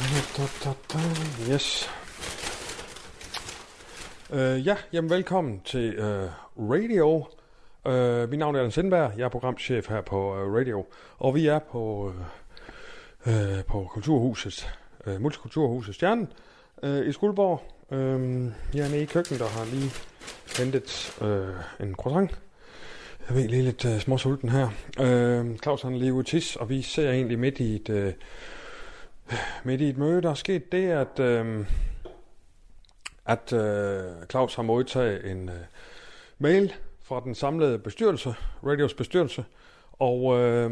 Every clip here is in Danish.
Da, da, da. Yes. Øh, ja, jamen velkommen til øh, Radio. Øh, mit navn er Allan Sindberg, jeg er programchef her på øh, Radio, og vi er på, øh, øh, på Kulturhuset, øh, Multikulturhuset Stjernen øh, i Skuldborg. Øh, jeg er nede i køkkenet og har lige hentet øh, en croissant. Jeg ved lige lidt øh, småsulten her. Øh, Claus han er lige ude at tisse, og vi ser egentlig midt i et... Øh, midt i et møde, der er sket det, at, øh, at øh, Claus har modtaget en øh, mail fra den samlede bestyrelse, Radios bestyrelse, og øh,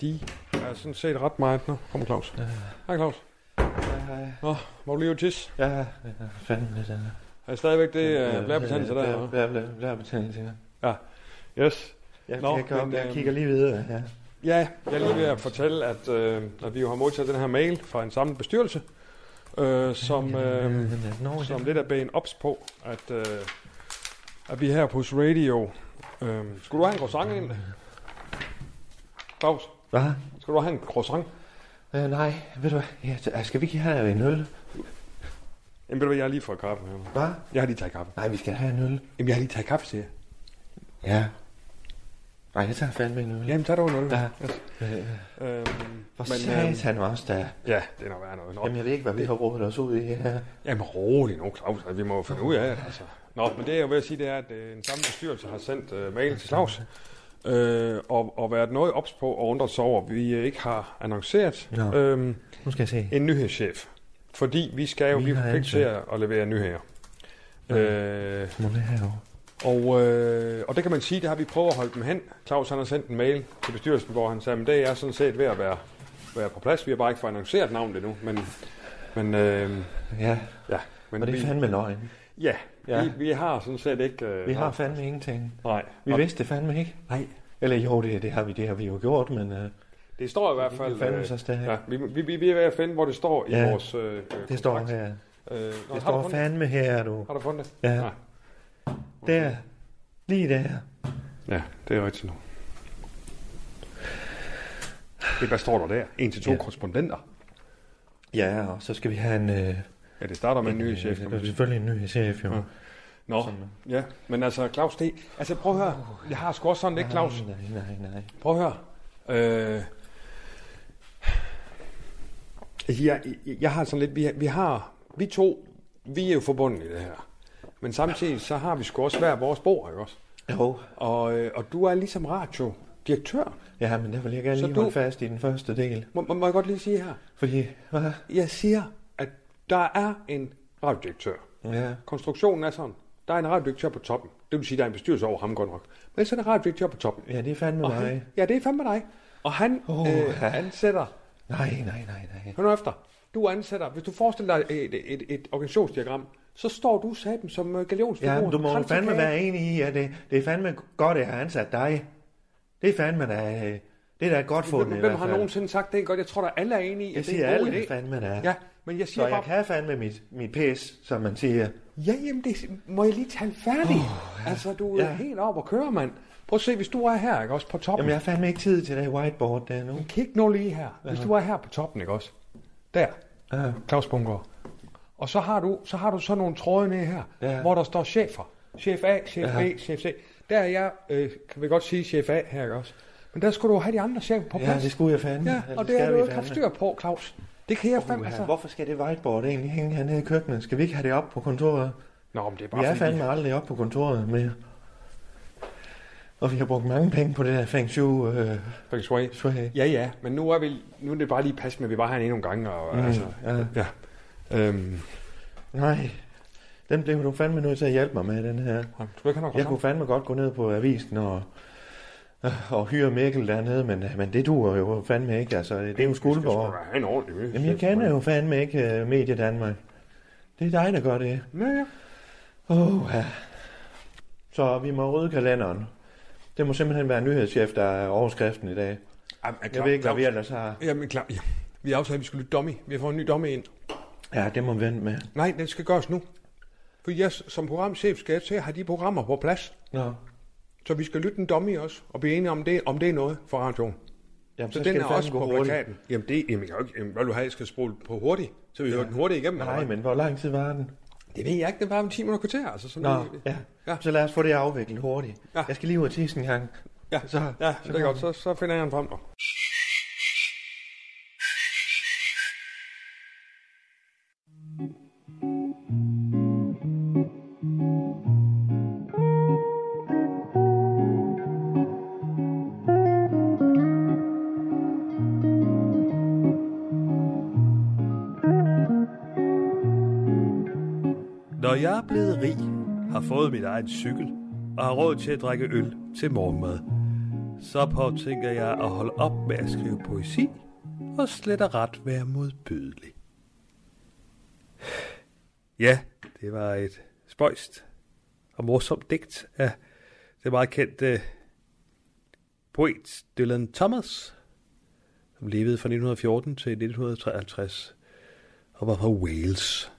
de er sådan set ret meget. Nå, kom Claus. Ja. Hej Claus. Hej, hej. Nå, må du lige ud tisse? Ja, ja, fanden det der. Er det stadigvæk det øh, blærebetændelse der? eller hvad? Ja, blæ- blærebetændelse, ja. Yes. Jeg, Nå, Nå, jeg, men, kom, jeg øhm, kigger lige videre, ja. Ja, jeg er lige ved at fortælle, at, øh, at vi jo har modtaget den her mail fra en samlet bestyrelse, øh, som... Øh, Nå, som lidt er ben ops på, at, øh, at vi her på hos Radio... Øh, skulle du have en croissant ind? Claus, Hvad? skal du have en croissant? Øh, nej, ved du hvad? Ja, t- skal vi ikke have en øl? Jamen ved du hvad, jeg har lige fået kaffe. her. Hvad? Jeg har lige taget kaffe. Nej, vi skal have en øl. Jamen jeg har lige taget kaffe, siger jeg. Ja. Nej, jeg tager fandme en øl. Jamen tag dog en øl. Ja. Øhm, Hvor men, øhm, satan var også der. ja, det er nok værd noget. Nå. Jamen, jeg ved ikke, hvad vi har rådet os ud i her. Jamen rolig nu, Claus. Altså, Vi må jo finde ud af det, altså. Nå, men det jeg vil sige, det er, at øh, en samme bestyrelse har sendt øh, mail til Claus. Øh, og, og været noget ops på og undret sig over, at vi øh, ikke har annonceret Nå. øhm, Nu skal jeg se. en nyhedschef. Fordi vi skal jo Vi blive har forpligtet til at ansat. at levere nyheder. Ja. Øh, Må det herovre? og, øh, og det kan man sige, det har vi prøvet at holde dem hen. Claus han har sendt en mail til bestyrelsen, hvor han sagde, at det er sådan set ved at være, være på plads. Vi har bare ikke fået annonceret navnet endnu. Men, men, øh, Ja, ja, men og det vi, er fandme løgn. ja, Ja. ja. Vi, vi har sådan set ikke... Øh, Vi har fandme ingenting. Nej. Vi vidste det fandme ikke. Nej. Eller jo, det, det har vi det har vi jo gjort, men øh, Det står i hvert vi fald... kan fandme øh, så stadig. ja, vi, vi, vi, vi er ved at finde, hvor det står i Ja. vores... Øh, øh, det står kontrakt. her. Øh, nå, har, Det du står fundet, fandme her, du. har du Ah, fundet det? Ja. Nej. Der. Lige der. Ja, det er rigtigt nu. Det, hvad står der der? En til to Ja. ja. korrespondenter. Ja, og så skal vi have en... Øh, Ja, det starter med en ny øh, chef. kan man sige. Ah. Selvfølgelig en ny chef, jo. Ja. Nå, ja. Men altså, Claus, det... Altså, prøv at høre. Jeg har sgu også sådan lidt, Claus. Nej, nej, nej. Prøv at høre. Øh, jeg, jeg, jeg har sådan lidt... Vi, har- vi har... Vi to, vi er jo forbundet i det her. Men samtidig, så har vi sgu også hver vores bord, ikke også? Jo, Og, øh, og du er ligesom radio-direktør. ja, men der vil jeg gerne Så lige du- holde fast i den første del. Må, må, må jeg godt lige sige her? Fordi, hvad? Jeg siger, at der er en radiodirektør. Ja, Konstruktionen er sådan. Der er en radiodirektør på toppen. Det vil sige, at der er en bestyrelse over ham godt nok. Men så er der en radiodirektør på toppen. ja det er fandme Og mig. han, ja, det er fandme dig. Og han Åh, oh, øh, ja. ansætter... Nej, nej, nej, nej. Hør nu efter. Du ansætter... Hvis du forestiller dig et, et, et organisationsdiagram, så står du saten som øh, galionsfigur. Ja, men du må jo kransekage. fandme være enig i, at det, det er fandme godt, at jeg har ansat dig. Det er fandme da... øh, Det er da et godt fundet, Hvem, i hvem hvert har fald. nogensinde sagt det? er Godt, jeg tror, der alle er enige i, Jeg at det siger er en god alle, idé. fandme da. Ja, men jeg siger Så jeg bare... kan fandme mit, mit pæs, som man siger. Ja, jamen, det, må jeg lige tale færdig? Oh, ja. Altså, du er Ja. ja. helt op og kører, mand. Prøv at se, hvis du er her, ikke også, på toppen. Jamen, jeg har fandme ikke tid til det whiteboard der nu. Kig nu lige her. Hvis du er her på toppen, ikke også? Der, Ja. Claus Bunker. Og så har du så har du sådan nogle tråde nede her, Ja. ja. hvor der står chefer. Chef A, chef Ja. ja. B, chef C. Der er jeg, øh, kan vi godt sige, chef A her, ikke også? Men der skulle du have de andre chefer på Ja, plads. det skulle jeg fandme. ja, og det skal er du vi ikke haft fandme. styr på, Claus. Det kan jeg fandme, Uha, altså. Hvorfor skal det whiteboard egentlig hænge hernede i køkkenet? Skal vi ikke have det op på kontoret? Nå, men det er Vi bare er fordi... fandme aldrig op på kontoret mere. Og vi har brugt mange penge på det der Feng Shui. Øh, Feng Shui. shui. Ja, ja, men nu er, vi, nu er det bare lige pas med, at vi bare har en nogle gange. Og, Mm, mm, altså, ja. ja. Øhm, Nej, den blev du fandme nødt til at hjælpe mig med, den her. Skal du ikke have noget Jeg kunne fandme godt gå ned på avisen og øh, og hyre Mikkel dernede, men, men det duer jo fandme ikke. Altså, det er jo Skuldborg. Han er ordentlig med. Jamen, jeg kender jo fandme ikke uh, Medie Danmark. Det er dig, der gør det. Ja, ja. Oh, ja. Så vi må rydde kalenderen. Det må simpelthen være nyhedschef, der er overskriften i dag. Jamen, Jeg ved ikke, hvad vi ellers har. Jamen, klar. Ja. Vi aftalte, at vi skulle lytte dummy. Vi har fået en ny dummy ind. Ja, det må vi vente med. Nej, den skal gøres nu. For jeg s- som programchef skal jeg til at have de programmer på plads. Nå. Så vi skal lytte en dummy også, og blive enige om det, om det er noget for radioen. Jamen, Så, så skal den er det fandme også gå på hurtigt. plakaten. Jamen, det, jamen, jeg kan jo ikke, jamen, hvad vil du have, jeg skal spole på hurtigt, så vi hører den hurtigt igennem. eller Nej, hvad? men hvor lang tid var den? Det ved jeg ikke, den var om 10 minutter kvarter, altså sådan Nå, noget. ja. Ja. ja. Så lad os få det afviklet hurtigt. Ja. Ja. Jeg skal lige ud og tisse en gang. Ja, så, Så- ja, så det er godt. Så, så finder jeg en frem. nu. Når jeg er blevet rig, har fået mit egen cykel og har råd til at drikke øl til morgenmad, så påtænker jeg at holde op med at skrive poesi og slet og ret være modbydelig. Ja, det var et spøjst og morsomt digt af det meget kendte poet Dylan Thomas, som levede fra 1914 til 1953 og var fra Wales.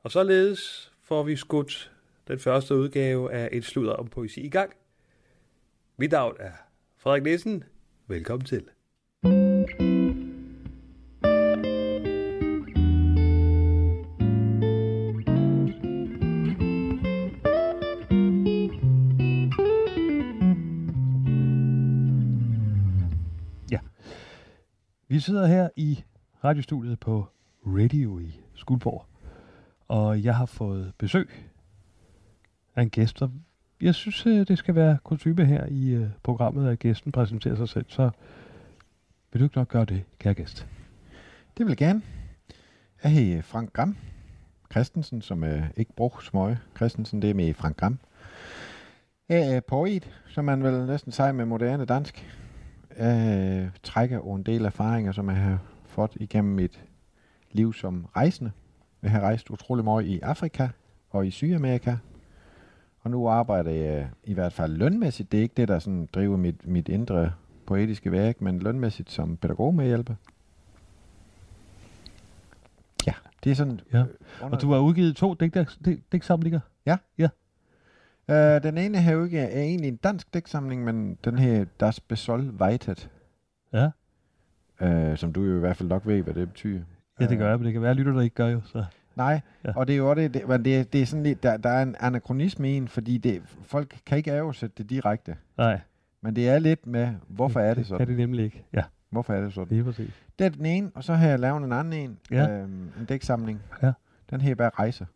Og således får vi skudt den første udgave af Et sludder om poesi i gang. Mit navn er Frederik Nissen. Velkommen til. Vi sidder her i radiostudiet på Radio i Skuldborg. Og jeg har fået besøg af en gæst, og jeg synes, øh, det skal være kutume her i øh, programmet, at gæsten præsenterer sig selv. Så vil du ikke nok gøre det, kære gæst? Det vil jeg gerne. Jeg hedder Frank Gram Christensen, som øh, ikke bruger smøge. Christensen, det er med Frank Gram. Jeg er øh, poet, som man vel næsten siger med moderne dansk. Jeg øh, trækker over en del erfaringer, som jeg har fået igennem mit liv som rejsende. Jeg har rejst utrolig meget i Afrika og i Sydamerika. Og nu arbejder jeg øh, i hvert fald lønmæssigt. Det er ikke det, der sådan driver mit, mit indre poetiske værk, men lønmæssigt som pædagog med hjælpe. Ja, det er sådan... Ja. øh, under- Og du har udgivet to digter- dig- digtsamlinger. Øh, den ene her jo ikke er egentlig en dansk digtsamling, men den her Das Besol Weitet, Ja, øh, som du jo i hvert fald nok ved, hvad det betyder. ja det gør jeg, men det kan være, at lytter, der ikke gør jo. Så. Nej, Ja. ja. og det er jo også det, det, men det, er- det er sådan lidt, der, der er en anachronisme i en, fordi det, folk kan ikke oversætte det direkte. Nej, Men det er lidt med, hvorfor er det kan sådan? det nemlig ikke. Ja, Hvorfor er det sådan? lige præcis. Det er den ene, og så har jeg lavet en anden en, Ja. øhm, en dæksamling. Ja. Den her bare rejse.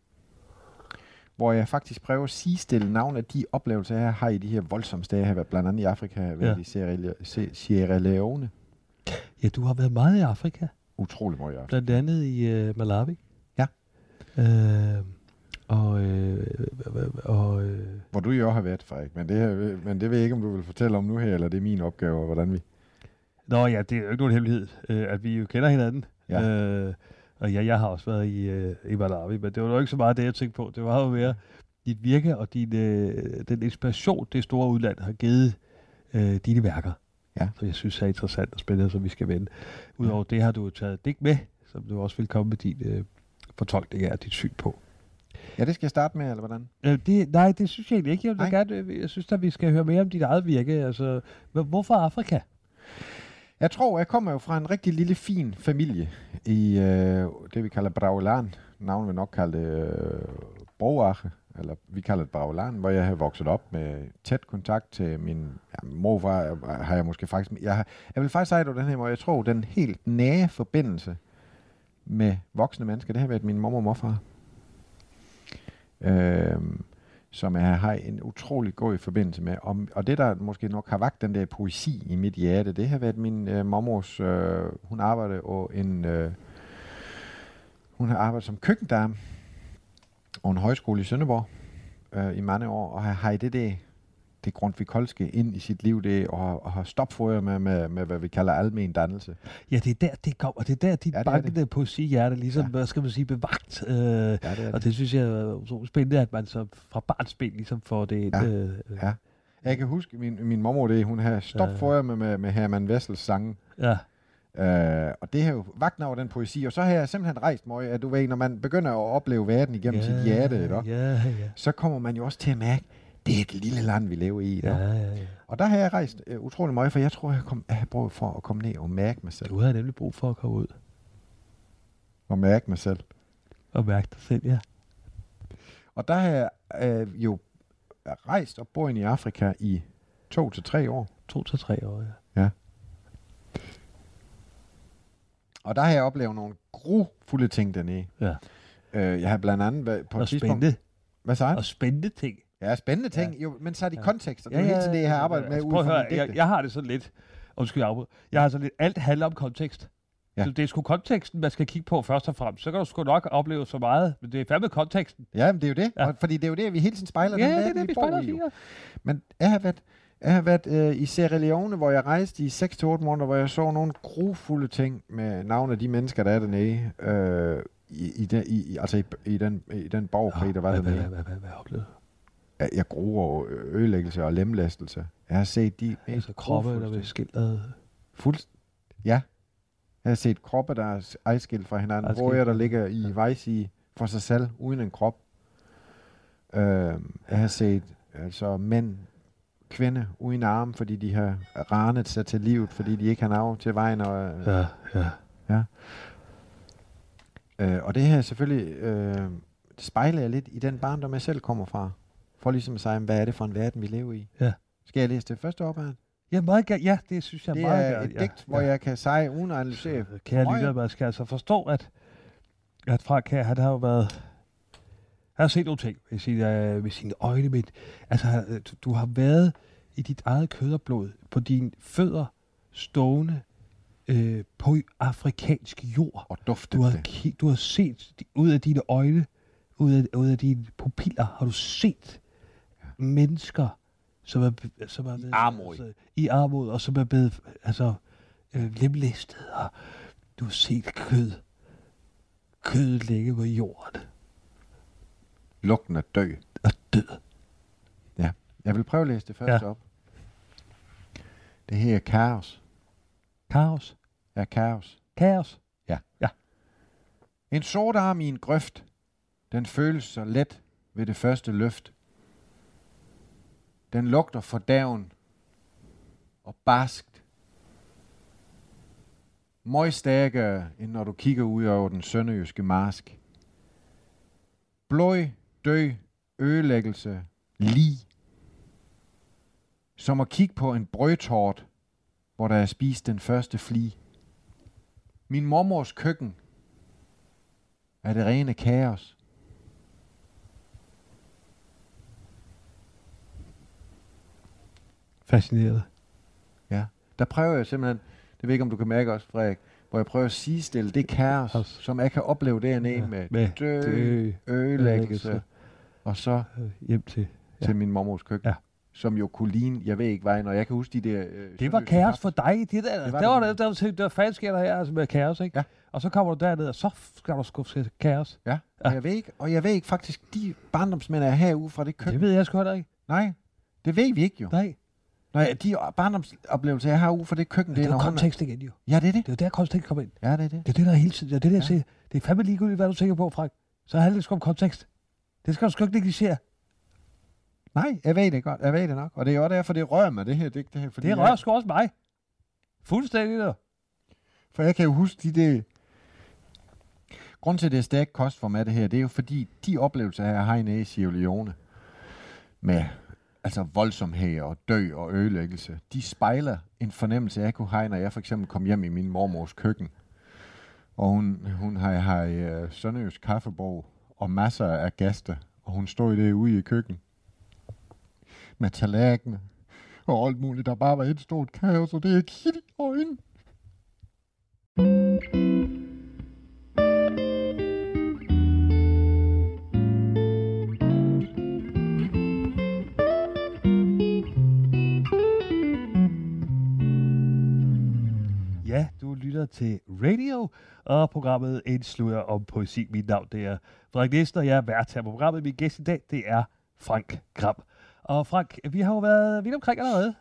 Hvor jeg faktisk prøver at sidestille navn af de oplevelser, jeg har i de her voldsomme steder, jeg har været blandt andet i Afrika, jeg har været Ja. i Sierra Le- Se- Sierra Leone. Ja, du har været meget i Afrika. Utrolig meget i Afrika. Blandt andet i øh, Malawi. Ja. Øh, og øh, hva- hva- og øh, Hvor du jo også har været, Frederik. Men det, her, men det ved jeg ikke, om du vil fortælle om nu her, eller det er min opgave, og hvordan vi... Nå ja, det er jo ikke nogen hemmelighed, øh, at vi jo kender hinanden. Ja. Øh, og ja, jeg har også været i, øh, i Malawi, men det var jo ikke så meget det, jeg tænkte på. Det var jo mere dit virke og din, øh, den inspiration, det store udland har givet øh, dine værker. Ja. Som jeg synes er interessant og spændende, som vi skal vende. Udover det har du jo taget digt med, som du også vil komme med din øh, fortolkning af og dit syn på. Ja, det skal jeg starte med, eller hvordan? Øh, Det, nej, det synes jeg egentlig ikke. Jeg, vil Nej. gerne, øh, jeg synes, at vi skal høre mere om dit eget virke. Altså, hvor- hvorfor Afrika? Jeg tror, jeg kommer jo fra en rigtig lille, fin familie i øh, det, vi kalder Braulan. Navnet vil nok kalde det øh, Broache, eller vi kalder det Braulan, hvor jeg har vokset op med tæt kontakt til min ja, morfar. øh, Har jeg måske faktisk... Jeg, har, jeg vil faktisk sige det på den her måde. Jeg tror, den helt nære forbindelse med voksne mennesker, det har været min mor og morfar. Øhm, som jeg har en utrolig god forbindelse med. Og, og det, der måske nok har vagt den der poesi i mit hjerte, det har været min øh, mormors... Øh, hun arbejdede og en... Øh, hun har arbejdet som køkkendame og en højskole i Sønderborg øh, i mange år, og har, har i det der det Grundtvig-Kolske ind i sit liv, det og, og har stopfodret med, med, med, hvad vi kalder almen dannelse. Ja, det er der, det går, og det er der, de Ja, ja, det er bankede på sit hjerte, ligesom, ja. hvad skal man sige, bevagt. Øh, ja, Ja, det er og det synes jeg er utroligt spændende, at man så fra barnsben ligesom får det. Ja. Ja. Øh, øh, Ja. Jeg kan huske, min, min mormor, det, hun har stopfodret med, med, med Herman Vessels sange. ja. Øh, og det har jo vagt over den poesi, og så har jeg simpelthen rejst mig, at du ved, når man begynder at opleve verden igennem ja, sit hjerte, ikke? Ja, ja. så kommer man jo også til at mærke, det er et lille land, vi lever i. Ja, Ja. ja, ja. Og der har jeg rejst øh, utrolig meget, for jeg tror, jeg, kom, jeg har brug for at komme ned og mærke mig selv. Du havde nemlig brug for at komme ud Og mærke mig selv. og mærke dig selv, ja. Og der har jeg øh, jo rejst og boet i Afrika i to til tre år. To til tre år, ja. Og der har jeg oplevet nogle grufulde ting dernede. Ja. Øh, jeg har blandt andet været på et Og tidspunkt... spændende, Hvad sagde han? og spændende ting. Ja, spændende ting. Ja. Jo, men så er det ja. kontekster. Det er ja, hele tiden det, jeg har arbejdet med Altså, ud prøv at fra høre, mit jeg, digte. jeg har det sådan lidt, undskyld, jeg afbryder. jeg har sådan lidt, alt handler om kontekst. Ja. Ja. Så det er sgu konteksten, man skal kigge på først og fremmest. Så kan du sgu nok opleve så meget, men det er fandme konteksten. Ja, men det er jo det. Ja. Ja. Fordi det er jo det, vi hele tiden spejler den verden, vi, bor i. jo. siger. Men jeg har været, jeg har været øh, i Sierra Leone, hvor jeg rejste i 6-8 måneder, hvor jeg så nogle grufulde ting med navne af de mennesker, der er dernede. Øh, i, i, den, i, i- altså i, i, den, i den borgerkrig, der var Hvad, hvad, hvad, dernede. hvad, hvad, hvad oplevede du? Jeg, jeg gruer ødelæggelse og lemlæstelse. Jeg har set de Altså kroppe, der blev skildret. Fuldst... Ja. Jeg har set kroppe, der er ejskilt fra hinanden. Adskilt. Hvor der ligger i vejs i for sig selv, uden en krop. Øh, jeg har set altså mænd, kvinde uden arme, fordi de har ranet sig til livet, fordi de ikke har nav til vejen. Og, øh, Ja, ja. Øh, og det her selvfølgelig øh, spejler jeg lidt i den barndom, jeg selv kommer fra. For ligesom at sige, hvad er det for en verden, vi lever i? Ja. Skal jeg læse det første op her? Ja, meget gerne. Ja, det synes jeg Det meget er gerne. et digt, hvor jeg kan sige, uden at analysere. Øh, Kære Nå, ja. lytter, man skal altså forstå, at, at Frank her, han har jo været... Han har set nogle ting med sine, øh, med sine øjne, men altså, han- øh, du- du har været i dit eget kød og blod, på dine fødder stående øh, på afrikansk jord. Og dufte Du har, det. ki- du har set de- ud af dine øjne, ud af, ud af dine pupiller, har du set mennesker, som er, be- som er I armod. Altså, I armod, og som er blevet altså, øh, lemlæstet, og du har set kød. Kød ligge på jorden Lugten af dø. og død. Ja, jeg vil prøve at læse det første ja. Ja. op. Det her er kaos. Kaos. Ja, kaos. Kaos. En sort arm i en grøft. Den føles så let ved det første løft. Den lugter for dagen og barskt. Møj stærkere, end når du kigger ud over den sønderjyske marsk. Blod, dø, ødelæggelse, lig. Som at kigge på en brødtort, hvor der er spist den første fli. Min mormors køkken er det rene kaos. Fascineret. Ja. Der prøver jeg simpelthen, det ved jeg ikke, om du kan mærke også, Frederik, hvor jeg prøver at sidestille det kaos, Kaos. som jeg kan opleve dernede ja, med, med dø, dø, ødelæggelse, ødelæggelse. og så Øh, Hjem til. ja. til min mormors køkken, ja. Ja. som jo kunne ligne, jeg ved ikke vejen, og jeg kan huske de der... Øh, Det var kaos for dig. Det der, det Det var var der, var det. der, der, der, der fanden sker der her altså med kaos, ikke? Ja. Og så kommer du derned, og så skal du skuffe til kaos. Ja, og jeg ved ikke, og jeg ved ikke faktisk, de barndomsmænd er herude fra det køkken. Det ved jeg sgu heller ikke. Nej, det ved vi ikke jo. Nej. Nej, de barndomsoplevelser, jeg har ude fra det køkken, Det er når jo hun kontekst igen, jo. Ja, det er Det det. er jo der, kontekst kommer ind. Ja, det er det. Det er det, der hele tiden. Det er det, der Ja. ja. siger. Det er fandme ligegyldigt, hvad du tænker på, Frank. Så handler det sgu om kontekst. Det skal du sgu ikke negligere. Nej, jeg ved det godt. Jeg ved det nok. Og det er jo derfor, det rører mig, det her digt. Det, her, fordi Det jeg, rører sgu også mig. Fuldstændig der. For jeg kan jo huske de der... Grunden til, at det er stærk kost for mig, det her, det er jo fordi, de oplevelser, jeg har i i Sierra Leone, med altså voldsomhed og død og ødelæggelse, de spejler en fornemmelse, jeg kunne have, når jeg for eksempel kom hjem i min mormors køkken. Og hun, hun har, har øh, Sønderjysk kaffebog og masser af gæster, og hun stod derude i køkkenet med tallerkener og alt muligt, der bare var et stort kaos, og det er kigge i øjnene. lytter til Radio og programmet En Sludder om Poesi. Mit navn det er Frederik Nissen, og jeg er vært her på programmet. Min gæst i dag, det er Frank Gram. Og Frank, vi har jo været vidt omkring allerede,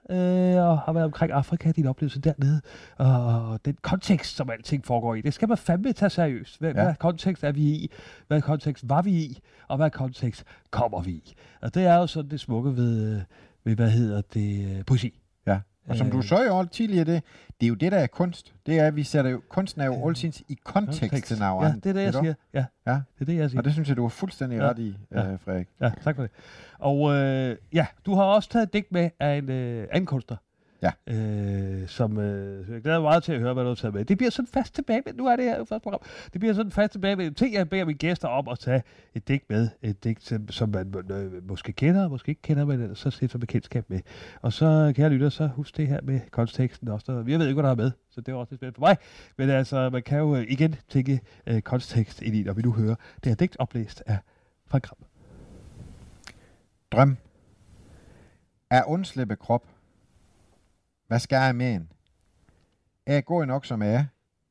øh, og har været omkring Afrika, din oplevelse dernede, og den kontekst, som alting foregår i. Det skal man fandme tage seriøst. Hvad, ja. Ja. hvad kontekst er vi i? Hvad kontekst var vi i? Og hvad kontekst kommer vi i? Og det er jo sådan det smukke ved, øh, ved hvad hedder det, øh, poesi. Ja. Og som Øh. du så jo alt tidligere, det, det er jo det, der er kunst. Det er, at vi sætter jo, kunsten er jo altid i konteksten af Ja, anden, det er det, ved jeg du? siger. Ja, Ja. det er det, jeg siger. Og det synes jeg, du har fuldstændig Ja. ret i, Ja. øh, Frederik. Ja, tak for det. Og øh, ja, du har også taget et digt med af en øh, anden kunstner. Ja. Øh, som øh, jeg glæder mig meget til at høre, hvad du har taget med. Det bliver sådan fast tilbage med, nu er det her jo første program, det bliver sådan fast tilbage med en ting, jeg beder mine gæster om at tage et digt med. Et digt, som, som man må- øh, måske kender, måske ikke kender, men ellers så stifter man kendskab med. Og så, kære lytter, så husk det her med konteksten også. Der, jeg ved ikke, hvad der er med, så det var også lidt spændende for mig. Men altså, man kan jo øh, igen tænke øh, kontekst ind i, når vi nu hører det her digt oplæst af Frank Gram. Drøm. Er undslippe krop. Hvad skal jeg med en? Er jeg god nok, som jeg er?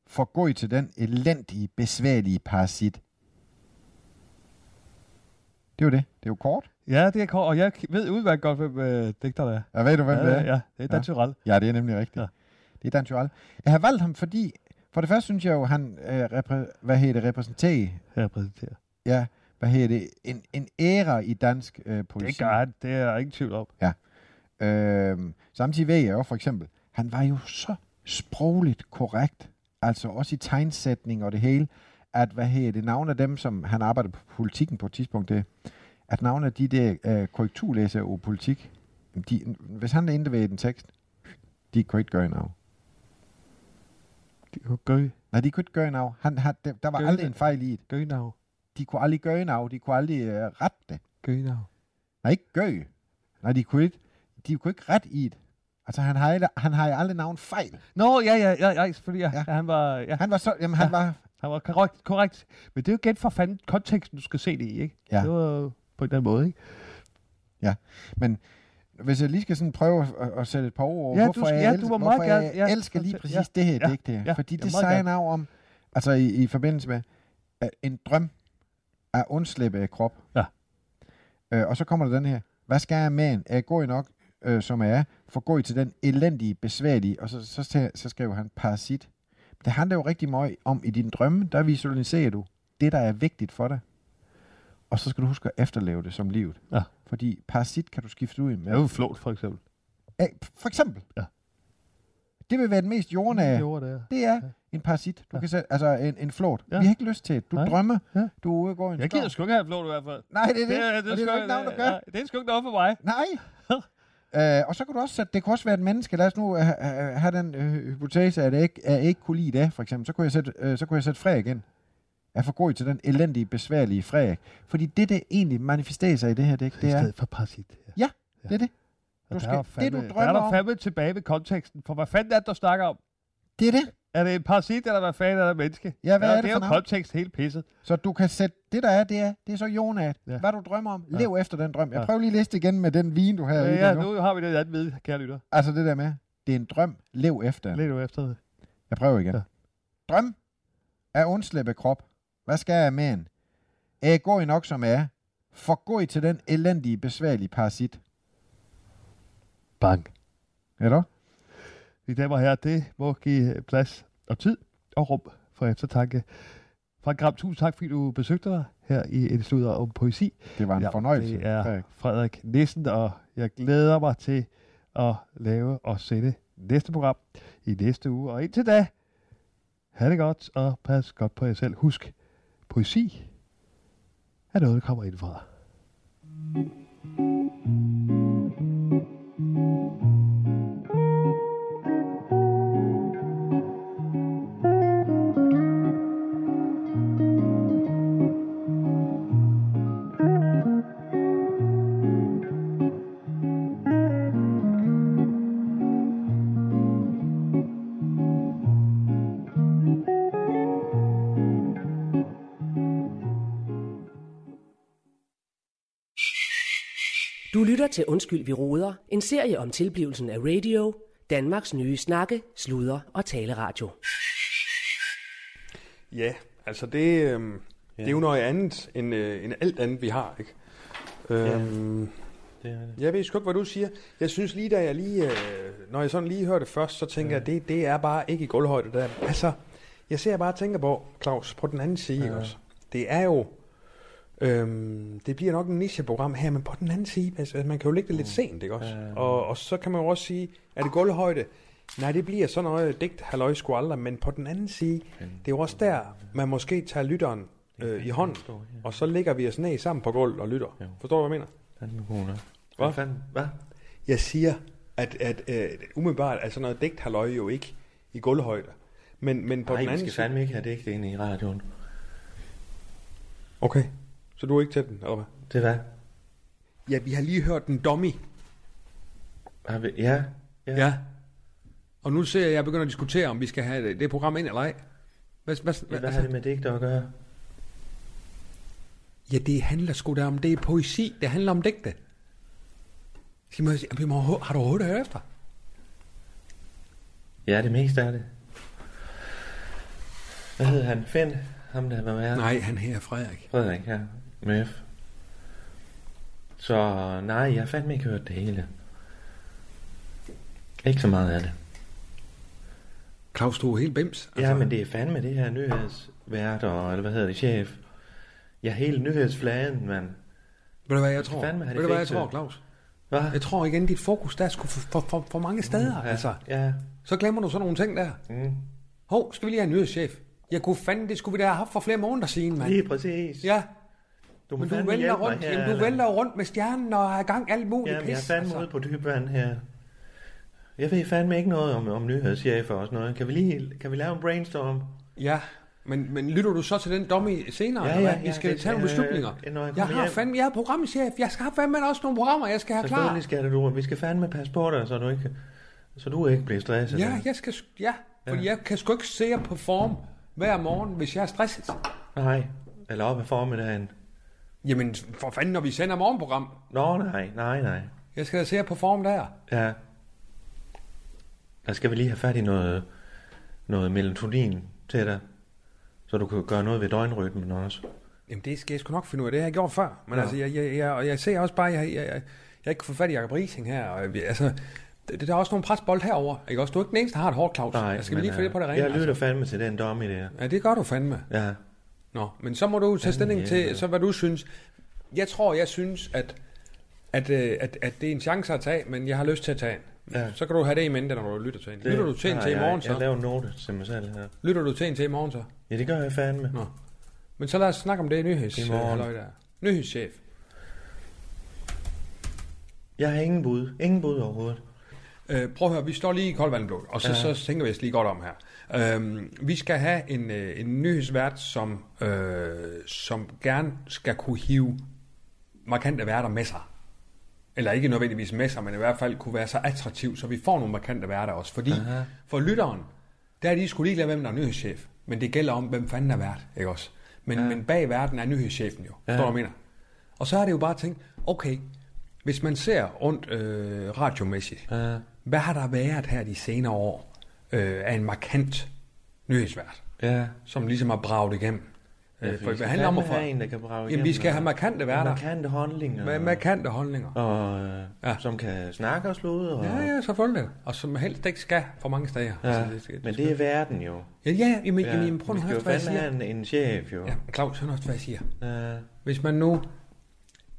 For god til den elendige, besværlige parasit. Det er jo det. Det er jo kort. Ja, det er kort, og jeg ved udmærket godt, hvem øh, digteren er. Jeg ved du, hvem ja, det er? Ja, det er Dan Ja. Tyrell. Ja, det er nemlig rigtigt. Ja. Ja. Det er Dan Tural. Jeg har valgt ham, fordi for det første synes jeg jo, han øh, repræ- hvad hedder det, repræsenterer Jeg præsenterer. ja, hvad hedder det, en, en æra i dansk øh, poesi. Det gør han, det er jeg ingen tvivl om. Øh, samtidig ved jeg jo for eksempel, han var jo så sprogligt korrekt, altså også i tegnsætning og det hele, at hvad hedder det, navn af dem, som han arbejdede på politikken på et tidspunkt, det, at navn af de der øh, korrekturlæsere af politik, de, hvis han endte ved en tekst, de kunne ikke gøre en af. Det er jo gø, Nej, de kunne ikke gøre en af. Han, han, der, der var Gør aldrig det. en fejl i det. gønav, De kunne aldrig gøre en af. De kunne aldrig øh, rette det. gønav. Nej, ikke gø. Nej, de kunne ikke, de kunne ikke rette i det. Altså, han har, aldrig- han har aldrig navn fejl. Nå, ja, ja, ja, ja selvfølgelig, ja. ja. Ja. Han var, ja, Han var så, jamen, han Ja. ja. var, han var korrekt, korrekt. Men det er jo igen for fanden konteksten, du skal se det i, ikke? Ja. Det var jo på en eller anden måde, ikke? hvis jeg lige skal sådan prøve at, at sætte et par ord over, Ja, du hvorfor skal- jeg, ja, elsker, du må meget hvorfor jeg gerne- ja, elsker lige fortæl. præcis Ja, det her ja, digt her, ja, fordi ja, det meget siger gerne. en af om, altså i, i forbindelse med, at en drøm er undslippe af krop. Ja. Øh, og så kommer der den her, hvad skal jeg med en? Er jeg god nok, øh, som jeg er, for god til den elendige, besværlige, og så, så, så, så skriver han parasit. Det handler jo rigtig meget om, i din drømme, der visualiserer du det, der er vigtigt for dig. Og så skal du huske at efterleve det som livet. Ja. Fordi parasit kan du skifte ud med Det er jo flot, for eksempel. af, for eksempel. Ja. Det vil være den mest jordnære. Jo, det er. Det er en parasit. Du Ja. kan sætte, altså en, en flot. Ja. Ja. Vi har ikke lyst til det. Du Nej. drømmer. Ja. Du er ude og går i en Jeg skov. gider sgu ikke have flot i hvert fald. Nej, det er det. Det, er- det, det, det er jo ikke navn, der gør. nej, Det er sgu ikke noget for mig. Nej. øh, og så kan du også sætte, det kunne også være et menneske. Lad os nu øh, øh, have den øh, hypotese, at jeg, ikke, at jeg ikke kunne lide det, for eksempel. Så kunne jeg sætte, øh, så kunne jeg sætte Frederik ind. Jeg er for god til den elendige, besværlige Frederik. Fordi det, det egentlig manifesterer sig i det her dæk, I det er, stedet for parasit. Ja. det er det. Og Du der skal- er jo det, du fandme, der er drømmer der om- fandme tilbage ved konteksten, for hvad fanden er det, du snakker om? Det er det. Er det en parasit, eller hvad fanden er det menneske? Ja, hvad ja, er det det for er jo navn? kontekst helt pisset. Så du kan sætte, det der er, det er, det er så Jonat. Ja. Ja. Hvad du drømmer om, Ja. lev efter den drøm. Jeg Ja. prøver lige at liste igen med den vin, du har Ja, i ja, dig nu. nu har vi det andet med, kære lytter. Altså det der med, det er en drøm, lev efter den. Lidt nu efter det. Jeg prøver igen. Ja. Ja. Drøm er undslippe krop. Hvad skal jeg med en? Er jeg god nok, som jeg er? For god til den elendige, besværlige parasit. Bang. Er du? Mine damer og herrer, det må give øh, plads og tid og rum for eftertanke. Frank Gram, tusind tak, fordi du besøgte dig her i en sludder om poesi. Det var en ja, fornøjelse. Det er Frederik. Frederik Nissen, og jeg glæder mig til at lave og sende næste program i næste uge. Og indtil da, ha' det godt, og pas godt på jer selv. Husk, poesi er noget, der kommer indfra. Du lytter til Undskyld, vi roder, en serie om tilblivelsen af radio, Danmarks nye snakke, sludre og taleradio. Ja, altså det, øhm, ja. det er jo noget andet end, øh, end alt andet, vi har, ikke? Øhm, ja. Det er det. Jeg ved sgu ikke, hvad du siger. Jeg synes lige, da jeg lige, øh, når jeg sådan lige hørte det først, så tænker ja. jeg, det, det er bare ikke i gulvhøjde. Der. Altså, jeg ser bare og tænker på, Claus, på den anden side ja. også. Det er jo, øhm, det bliver nok en nicheprogram her, men på den anden side, altså, man kan jo lægge det lidt sent, ikke også? Ja. Og, og så kan man jo også sige, er det gulvhøjde? Nej, det bliver sådan noget digt, halløj, sgu aldrig, men på den anden side, det er jo også der, man måske tager lytteren øh, i hånden, og så ligger vi os ned sammen på gulvet og lytter. Jo. Forstår du, hvad jeg mener? Fanden god nok. Hvad? Hvad fanden? Hvad? Jeg siger, at, at øh, umiddelbart er sådan noget digt halløj jo ikke i gulvhøjde. Men, men på Nej, den vi anden skal side... fandme ikke have det ikke inde i radioen. Okay, så du er ikke til den, eller hvad? Det er hvad? Ja, vi har lige hørt den dummy. Har vi... Ja. Ja. Og nu ser jeg, at jeg begynder at diskutere, om vi skal have det, det program ind eller ej. Hvad, hvad, altså, Hvad, hvad har det med digter at gøre? Ja, det handler sgu da om, det er poesi. Det handler om digte. Skal man, sige, jamen, har har du overhovedet hørt efter? Ja, det meste er det. Hvad hed han? Finn? Ham der var med? Nej, han her er Frederik. Frederik her. Med F. Så nej, jeg har fandme ikke hørt det hele. Ikke så meget af det. Claus, du er helt bims. Altså... Ja, men det er fandme det her nyhedsvært, og, eller hvad hedder det, chef. Ja, hele nyhedsfladen, mand. Ved du hvad, jeg tror? fandme have det Ved du hvad, jeg fikset. tror, Claus? Hvad? Jeg tror igen, dit fokus der er sgu for, for, for, for mange steder. Mm, Ja, altså. Ja. Så glemmer du sådan nogle ting der. Mm. Hov, skal vi lige have en nyhedschef? Jeg kunne fanden, det skulle vi da have haft for flere måneder siden, mand. Lige præcis. Ja, Du må men du fandme vælter hjælpe mig rundt, her, jamen, du eller- vælter rundt med stjernen og er i gang alt muligt Jamen, jeg er pis. fandme altså. ude på dybvand her. Jeg ved fandme ikke noget om, om nyhedschefer og sådan noget. Kan vi lige kan vi lave en brainstorm? Ja, men, men lytter du så til den dummy senere? Ja, eller ja, hvad? ja, vi skal det- tage nogle øh, beslutninger. når jeg jeg, kommer har hjem. fandme, jeg er programchef. Jeg skal have fandme også nogle programmer, jeg skal have klar. Selvfølgelig skal det, du. Vi skal fandme passe på dig, så du ikke, så du ikke bliver stresset. Ja, jeg skal, s- ja, fordi jeg kan sgu ikke se jer på form hver morgen, hvis jeg er stresset. Nej, eller op af formiddagen. Jamen, for fanden, når vi sender morgenprogram. Nå, nej, nej, nej. Jeg skal da se jer på form der. Ja. Der skal vi lige have fat i noget, noget melatonin til dig. Så du kan gøre noget ved døgnrytmen også. Jamen, det skal jeg sgu nok finde ud af. Det har jeg gjort før. Men ja. altså, jeg, jeg, jeg, og jeg ser også bare, jeg, jeg, jeg, jeg ikke får fat i Jacob Rising her. Og, jeg- altså, det, der er også nogle presbold herover. Ikke også? Du er ikke den eneste, der har et hårdt, Claus. Nej, jeg skal vi men, lige få øh, det på det rene. Jeg lytter fandme til den domme der. Altså. Ja, det gør du fandme. Ja, Nå, men så må du tage stilling ja. til, så hvad du synes. Jeg tror, jeg synes, at, at, øh, at, at det er en chance at tage, men jeg har lyst til at tage en. Ja. Ja. Så kan du have det i mente, når du lytter til en. Det- Lytter du til en Nej, til i morgen, jeg, Jeg så? laver en note til mig selv her. Lytter du til en til i morgen, så? Ja, det gør jeg fandme. Nå. Men så lad os snakke om det i nyheds. I morgen. halløj der. Nyhedschef. Jeg har ingen bud. Ingen bud overhovedet. Øh, prøv at høre, vi står lige i koldvandblod, og så, ja. så tænker vi os lige godt om her. Øhm, vi skal have en, øh, en nyhedsvært, som, øh, som gerne skal kunne hive markante værter med sig. Eller ikke nødvendigvis med sig, men i hvert fald kunne være så attraktiv, så vi får nogle markante værter også. Fordi Aha. for lytteren, der er de sgu ligeglade, hvem der er nyhedschef. Men det gælder om, hvem fanden er vært, ikke også? Men, ja. men bag verden er nyhedschefen jo, ja. står du hvad jeg mener? Og så er det jo bare at tænke, okay, hvis man ser rundt øh, radiomæssigt, Ja. hvad har der været her de senere år øh, af en markant nyhedsvært, Ja. som ligesom har braget igennem? Øh, for vi det skal handler om at fandme få... have en, der kan brage Jamen, igennem, vi skal og- have markante værter. Markante håndlinger. Med markante holdninger. Og øh, Ja. ja. som kan snakke og slude. Og, Ja, ja, selvfølgelig. Og som helst ikke skal for mange steder. Ja. Altså, det skal, Men det er verden jo. Ja, ja, jamen, Ja. ja, jamen prøv nu vi at skal høre, jo hvad jeg fandme siger. have en, en chef jo. Ja, Claus, hør nu efter, hvad jeg siger. Ja. Hvis man nu...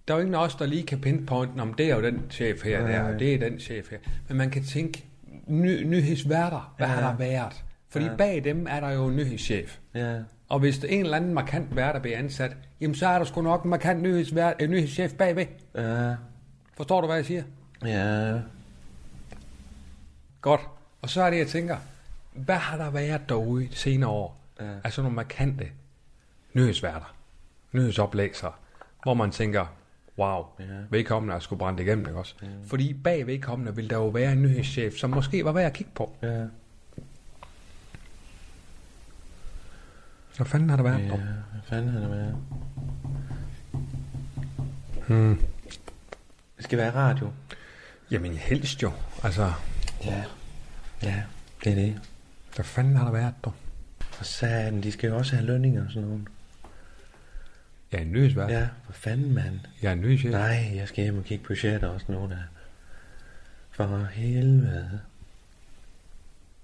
Der er jo ingen af os, der lige kan pinpointe, om det er jo den chef her, der, og det er den chef her. Men man kan tænke, ny, nyhedsværter, hvad ja. har der været? Fordi ja. bag dem er der jo en nyhedschef. ja. Og hvis der er en eller anden markant vært, der bliver ansat, jamen så er der sgu nok en markant nyhedsvært, øh, nyhedschef bagved. Ja. Forstår du, hvad jeg siger? Ja. Godt. Og så er det, jeg tænker, hvad har der været derude i de senere år? Ja. Altså nogle markante nyhedsværter, nyhedsoplæsere, hvor man tænker, wow, ja. vedkommende er sgu brændt igennem, ikke også? Ja. Fordi bag vedkommende vil der jo være en nyhedschef, som måske var værd at kigge på. Ja. Hvad fanden har der været? Ja. Ja. Hvad fanden har det været? Hmm. Det skal være radio. Jamen helst jo. Altså, Ja. Ja, det er det. hvad fanden har der været, dog? For satan, de skal jo også have lønninger og sådan noget. Jeg er en nyhedsvært. Ja. Ja, for fanden, mand. Jeg er en nyhedschef. Nej, jeg skal hjem og kigge på chat og sådan noget der. For helvede.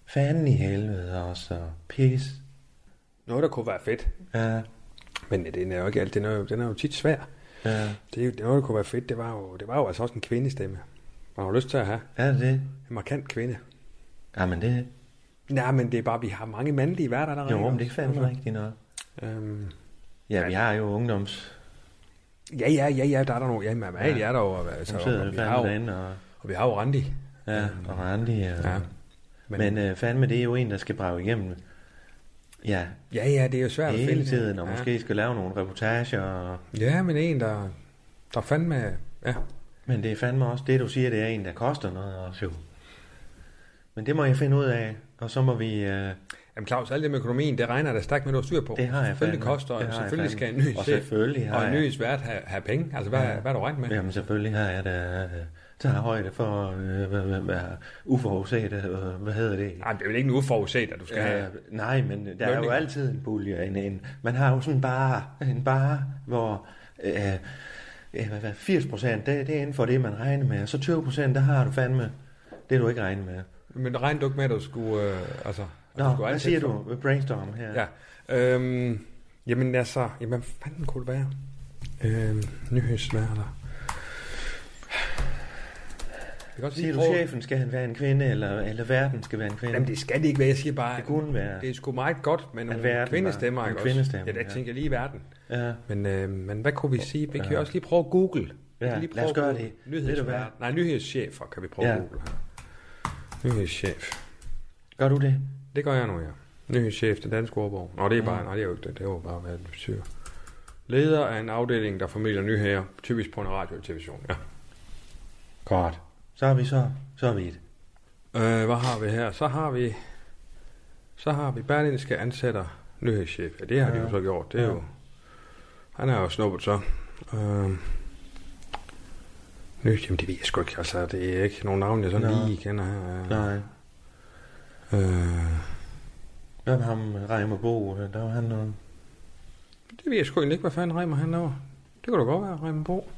Fanden i helvede også, og pis. Noget, der kunne være fedt. Ja, Men øh, den er jo ikke alt. Den er jo, den er jo tit svær. ja. Det, er jo- noget, der kunne være fedt, det var jo, det var jo altså også en kvindestemme. Man har lyst til at have Er det det? en markant kvinde. Jamen det, Nej, men det er bare, vi har mange mandlige værter allerede. jo, ikke men det er også? fandme rigtigt nok. Øhm, Ja, vi har jo ungdoms... ja, ja, ja, ja, der er der nogle. Ja, men ja. Ja. er der jo. Altså, Som og, sidder og, jo vi har fandme jo, derinde og... og vi har jo Randi. Ja, og Randi. Og, Ja. ja. Men- Men, men øh, fandme, det er jo en, der skal brage igennem. Ja, Ja, ja, det er jo svært at hele finde. tiden, og ja. måske skal lave nogle reportager. Og, Ja, men en, der, der fandme... Ja, men det er fandme også det, du siger, det er en, der koster noget også jo. Men det må jeg finde ud af, og så må vi... Øh, Jamen Claus, alt det med økonomien, det regner der stærkt med, du har styr på. Det har jeg Selvfølgelig fandme. koster, Det og har jeg selvfølgelig skal en fandme. ny Og chef selvfølgelig har og en jeg- ny svært have, have penge. Altså, hvad, ja. hvad er du regnet med? Jamen selvfølgelig har jeg da øh, tager højde for øh, hvad, hvad, hvad, uforudset, øh, hvad hedder det? Nej, det er vel ikke en uforudset, at du skal ja. Ja, have... nej, men der er jo Øh, Lønninger. altid en pulje. En, en, man har jo sådan en bare, en bare hvor øh, øh, hvad- hvad, 80 procent, det, det er inden for det, man regner med. Og så 20 procent, der har du fandme det, du ikke regner med. Men regn du ikke med, at du skulle... Øh, altså, at Nå, skulle hvad ansætte siger folk? du? Brainstorm her. Ja. Øhm, jamen altså, jamen, hvad fanden kunne det være? Øhm, nyhedsværter. Det kan godt Siger du, chefen skal han være en kvinde, eller, eller verden skal være en kvinde? Jamen, det skal det ikke være. Jeg siger bare, Det kunne være. det er sgu meget godt med nogle verden var- kvindestemmer, en ikke kvindestemme, også? Ja, der ja. tænker jeg lige i verden. Ja. Men, øh, men hvad kunne vi sige? Vi kan ja. også lige prøve at google. Vi Ja, kan lige lad os at gøre google. det. Ved du hvad? Nyhedsvært. Nej, nyhedschefer kan vi prøve ja. Ja. at google her. Nyhedschef. Gør du det? Det gør jeg nu, ja. Nyhedschef til Dansk Ordbog. Nå, det er bare, nej, det er jo ikke det. Det er jo bare, hvad det betyder. Leder af en afdeling, der formidler nyheder, typisk på en radio eller television, ja. Godt. Så er vi så, så er vi et. Øh, hvad har vi her? Så har vi... Så har vi Berlinske ansætter nyhedschef. Ja, det har de jo så gjort. Det er jo... Han er jo snuppet så. Øh, ny, jamen det ved jeg sgu ikke. Altså, det er ikke nogen navn, jeg sådan Nå. lige kender her. Nej. Øh, Hvad med ham, Reimer Bo? Der var han øh, noget... det ved jeg sgu egentlig ikke, hvad fanden Reimer han laver. Det kunne da godt være, Reimer Bo.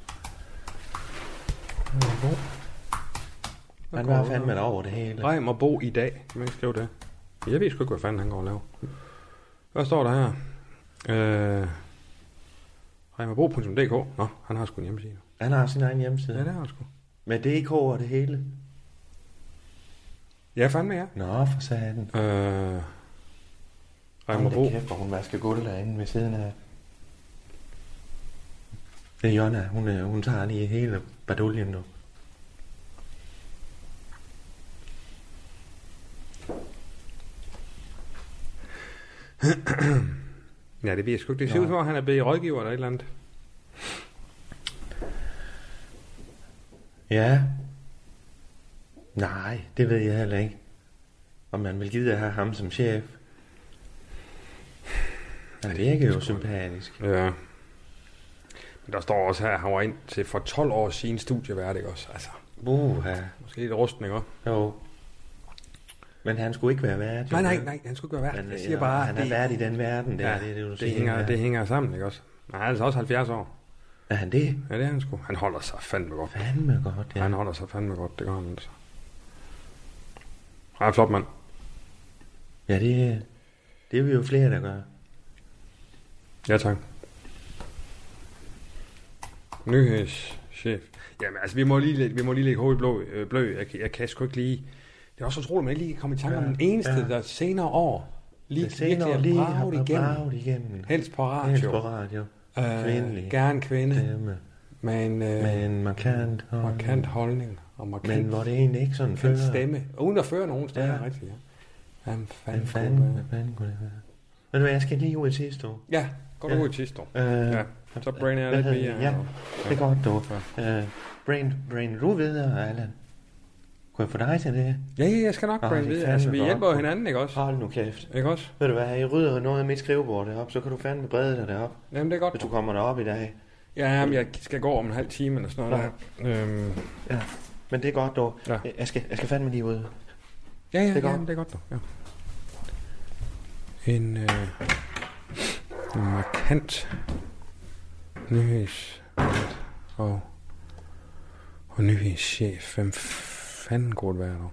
Reimer Bo. Hvad Han går var der? fandme over det hele. Rem og Bo i dag. Kan man ikke skrive det? Jeg ved sgu ikke, hvad fanden han går og laver. Hvad står der her? Øh, Remmerbo.dk Nå, han har sgu en hjemmeside. Han har sin egen Ja, hjemmeside. det har han sgu. Med DK og det hele. Ja, fandme ja. Nå, for satan. Øh, Hold da Remmerbo. kæft, hvor hun vasker gulv derinde ved siden af. Det er Jonna. Hun, øh, hun tager lige hele baduljen nu. Ja, det ved jeg sgu ikke. Det ser ud som om, han er blevet rådgiver eller et eller andet. Ja. Nej, det ved jeg heller ikke. Om man vil gide at have ham som chef. Han virker jo sympatisk. Ja. Men der står også her, at han var ind til for 12 år siden studievært, ikke også? Altså, Uha. måske lidt rusten, ikke også? Jo. Men han skulle ikke være vært. jo. Nej, nej, nej, han skulle ikke være vært. Men, øh, Jeg siger bare, han er vært i den verden, der, ja, det er det, du det, siger. hænger, ja. det hænger sammen, ikke også? Nej, han er altså også 70 år. Er han det? Ja, det er han sgu. Han holder sig fandme godt. Fandme godt, Ja. ja. Han holder sig fandme godt, det gør han altså. Ej, flot mand. Ja, det, det er vi jo flere, der gør. Ja, tak. Nyhedschef. Jamen, altså, vi må lige, lægge- vi må lige lægge hovedet blå, øh, blø. Jeg, kan- jeg kan sgu ikke lige... Det er også utroligt, at man ikke lige kan komme i tanke om Ja, den eneste, ja. der senere år lige, Det senere virkelig er lige har braget igennem. braget igennem. Helst på radio. Helst på radio. Kvindelig. Øh, gerne kvinde, det. Stemme. med en øh, Med en markant. hånd. markant holdning og markant, Men hvor det egentlig ikke sådan markant føler. stemme. Uden at føre nogen steder, ja. Ja. rigtigt, ja. Jamen, fanden, Hvad kunne fanden, det hvad være? fanden kunne det være? Ved du hvad, jeg skal lige ud i sidste uge. Ja, går du Ja. ud i sidste år. Øh, Ja, så brainer jeg hvad lidt hedder mere. det? Ja, det er godt, du. Øh, brain, brain, du videre, Allan. Kunne jeg få dig til det? Ja, ja, jeg skal nok Ej, brænde Ah, det er videre. Altså, vi fandme hjælper jo godt. hinanden, ikke også? Hold nu kæft. Ikke også? Ved du hvad, jeg rydder noget af mit skrivebord deroppe, så kan du fandme brede dig deroppe, Jamen, det er hvis godt. du kommer derop i dag. Ja, men jeg skal gå om en halv time eller sådan noget. Der. Øhm, Ja, men det er godt dog. Ja. Ja. Jeg, skal, jeg skal fandme lige ud. ja, ja, Det er det godt. ja, men det er godt. dog, Ja. en øh, markant nyhedsvært og, og nyhedschef. Hvem fanden kunne det være dog?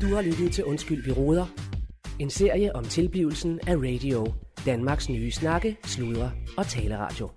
Du har lyttet til Undskyld, vi råder. En serie om tilblivelsen af radio. Danmarks nye snakke, sludre og taleradio.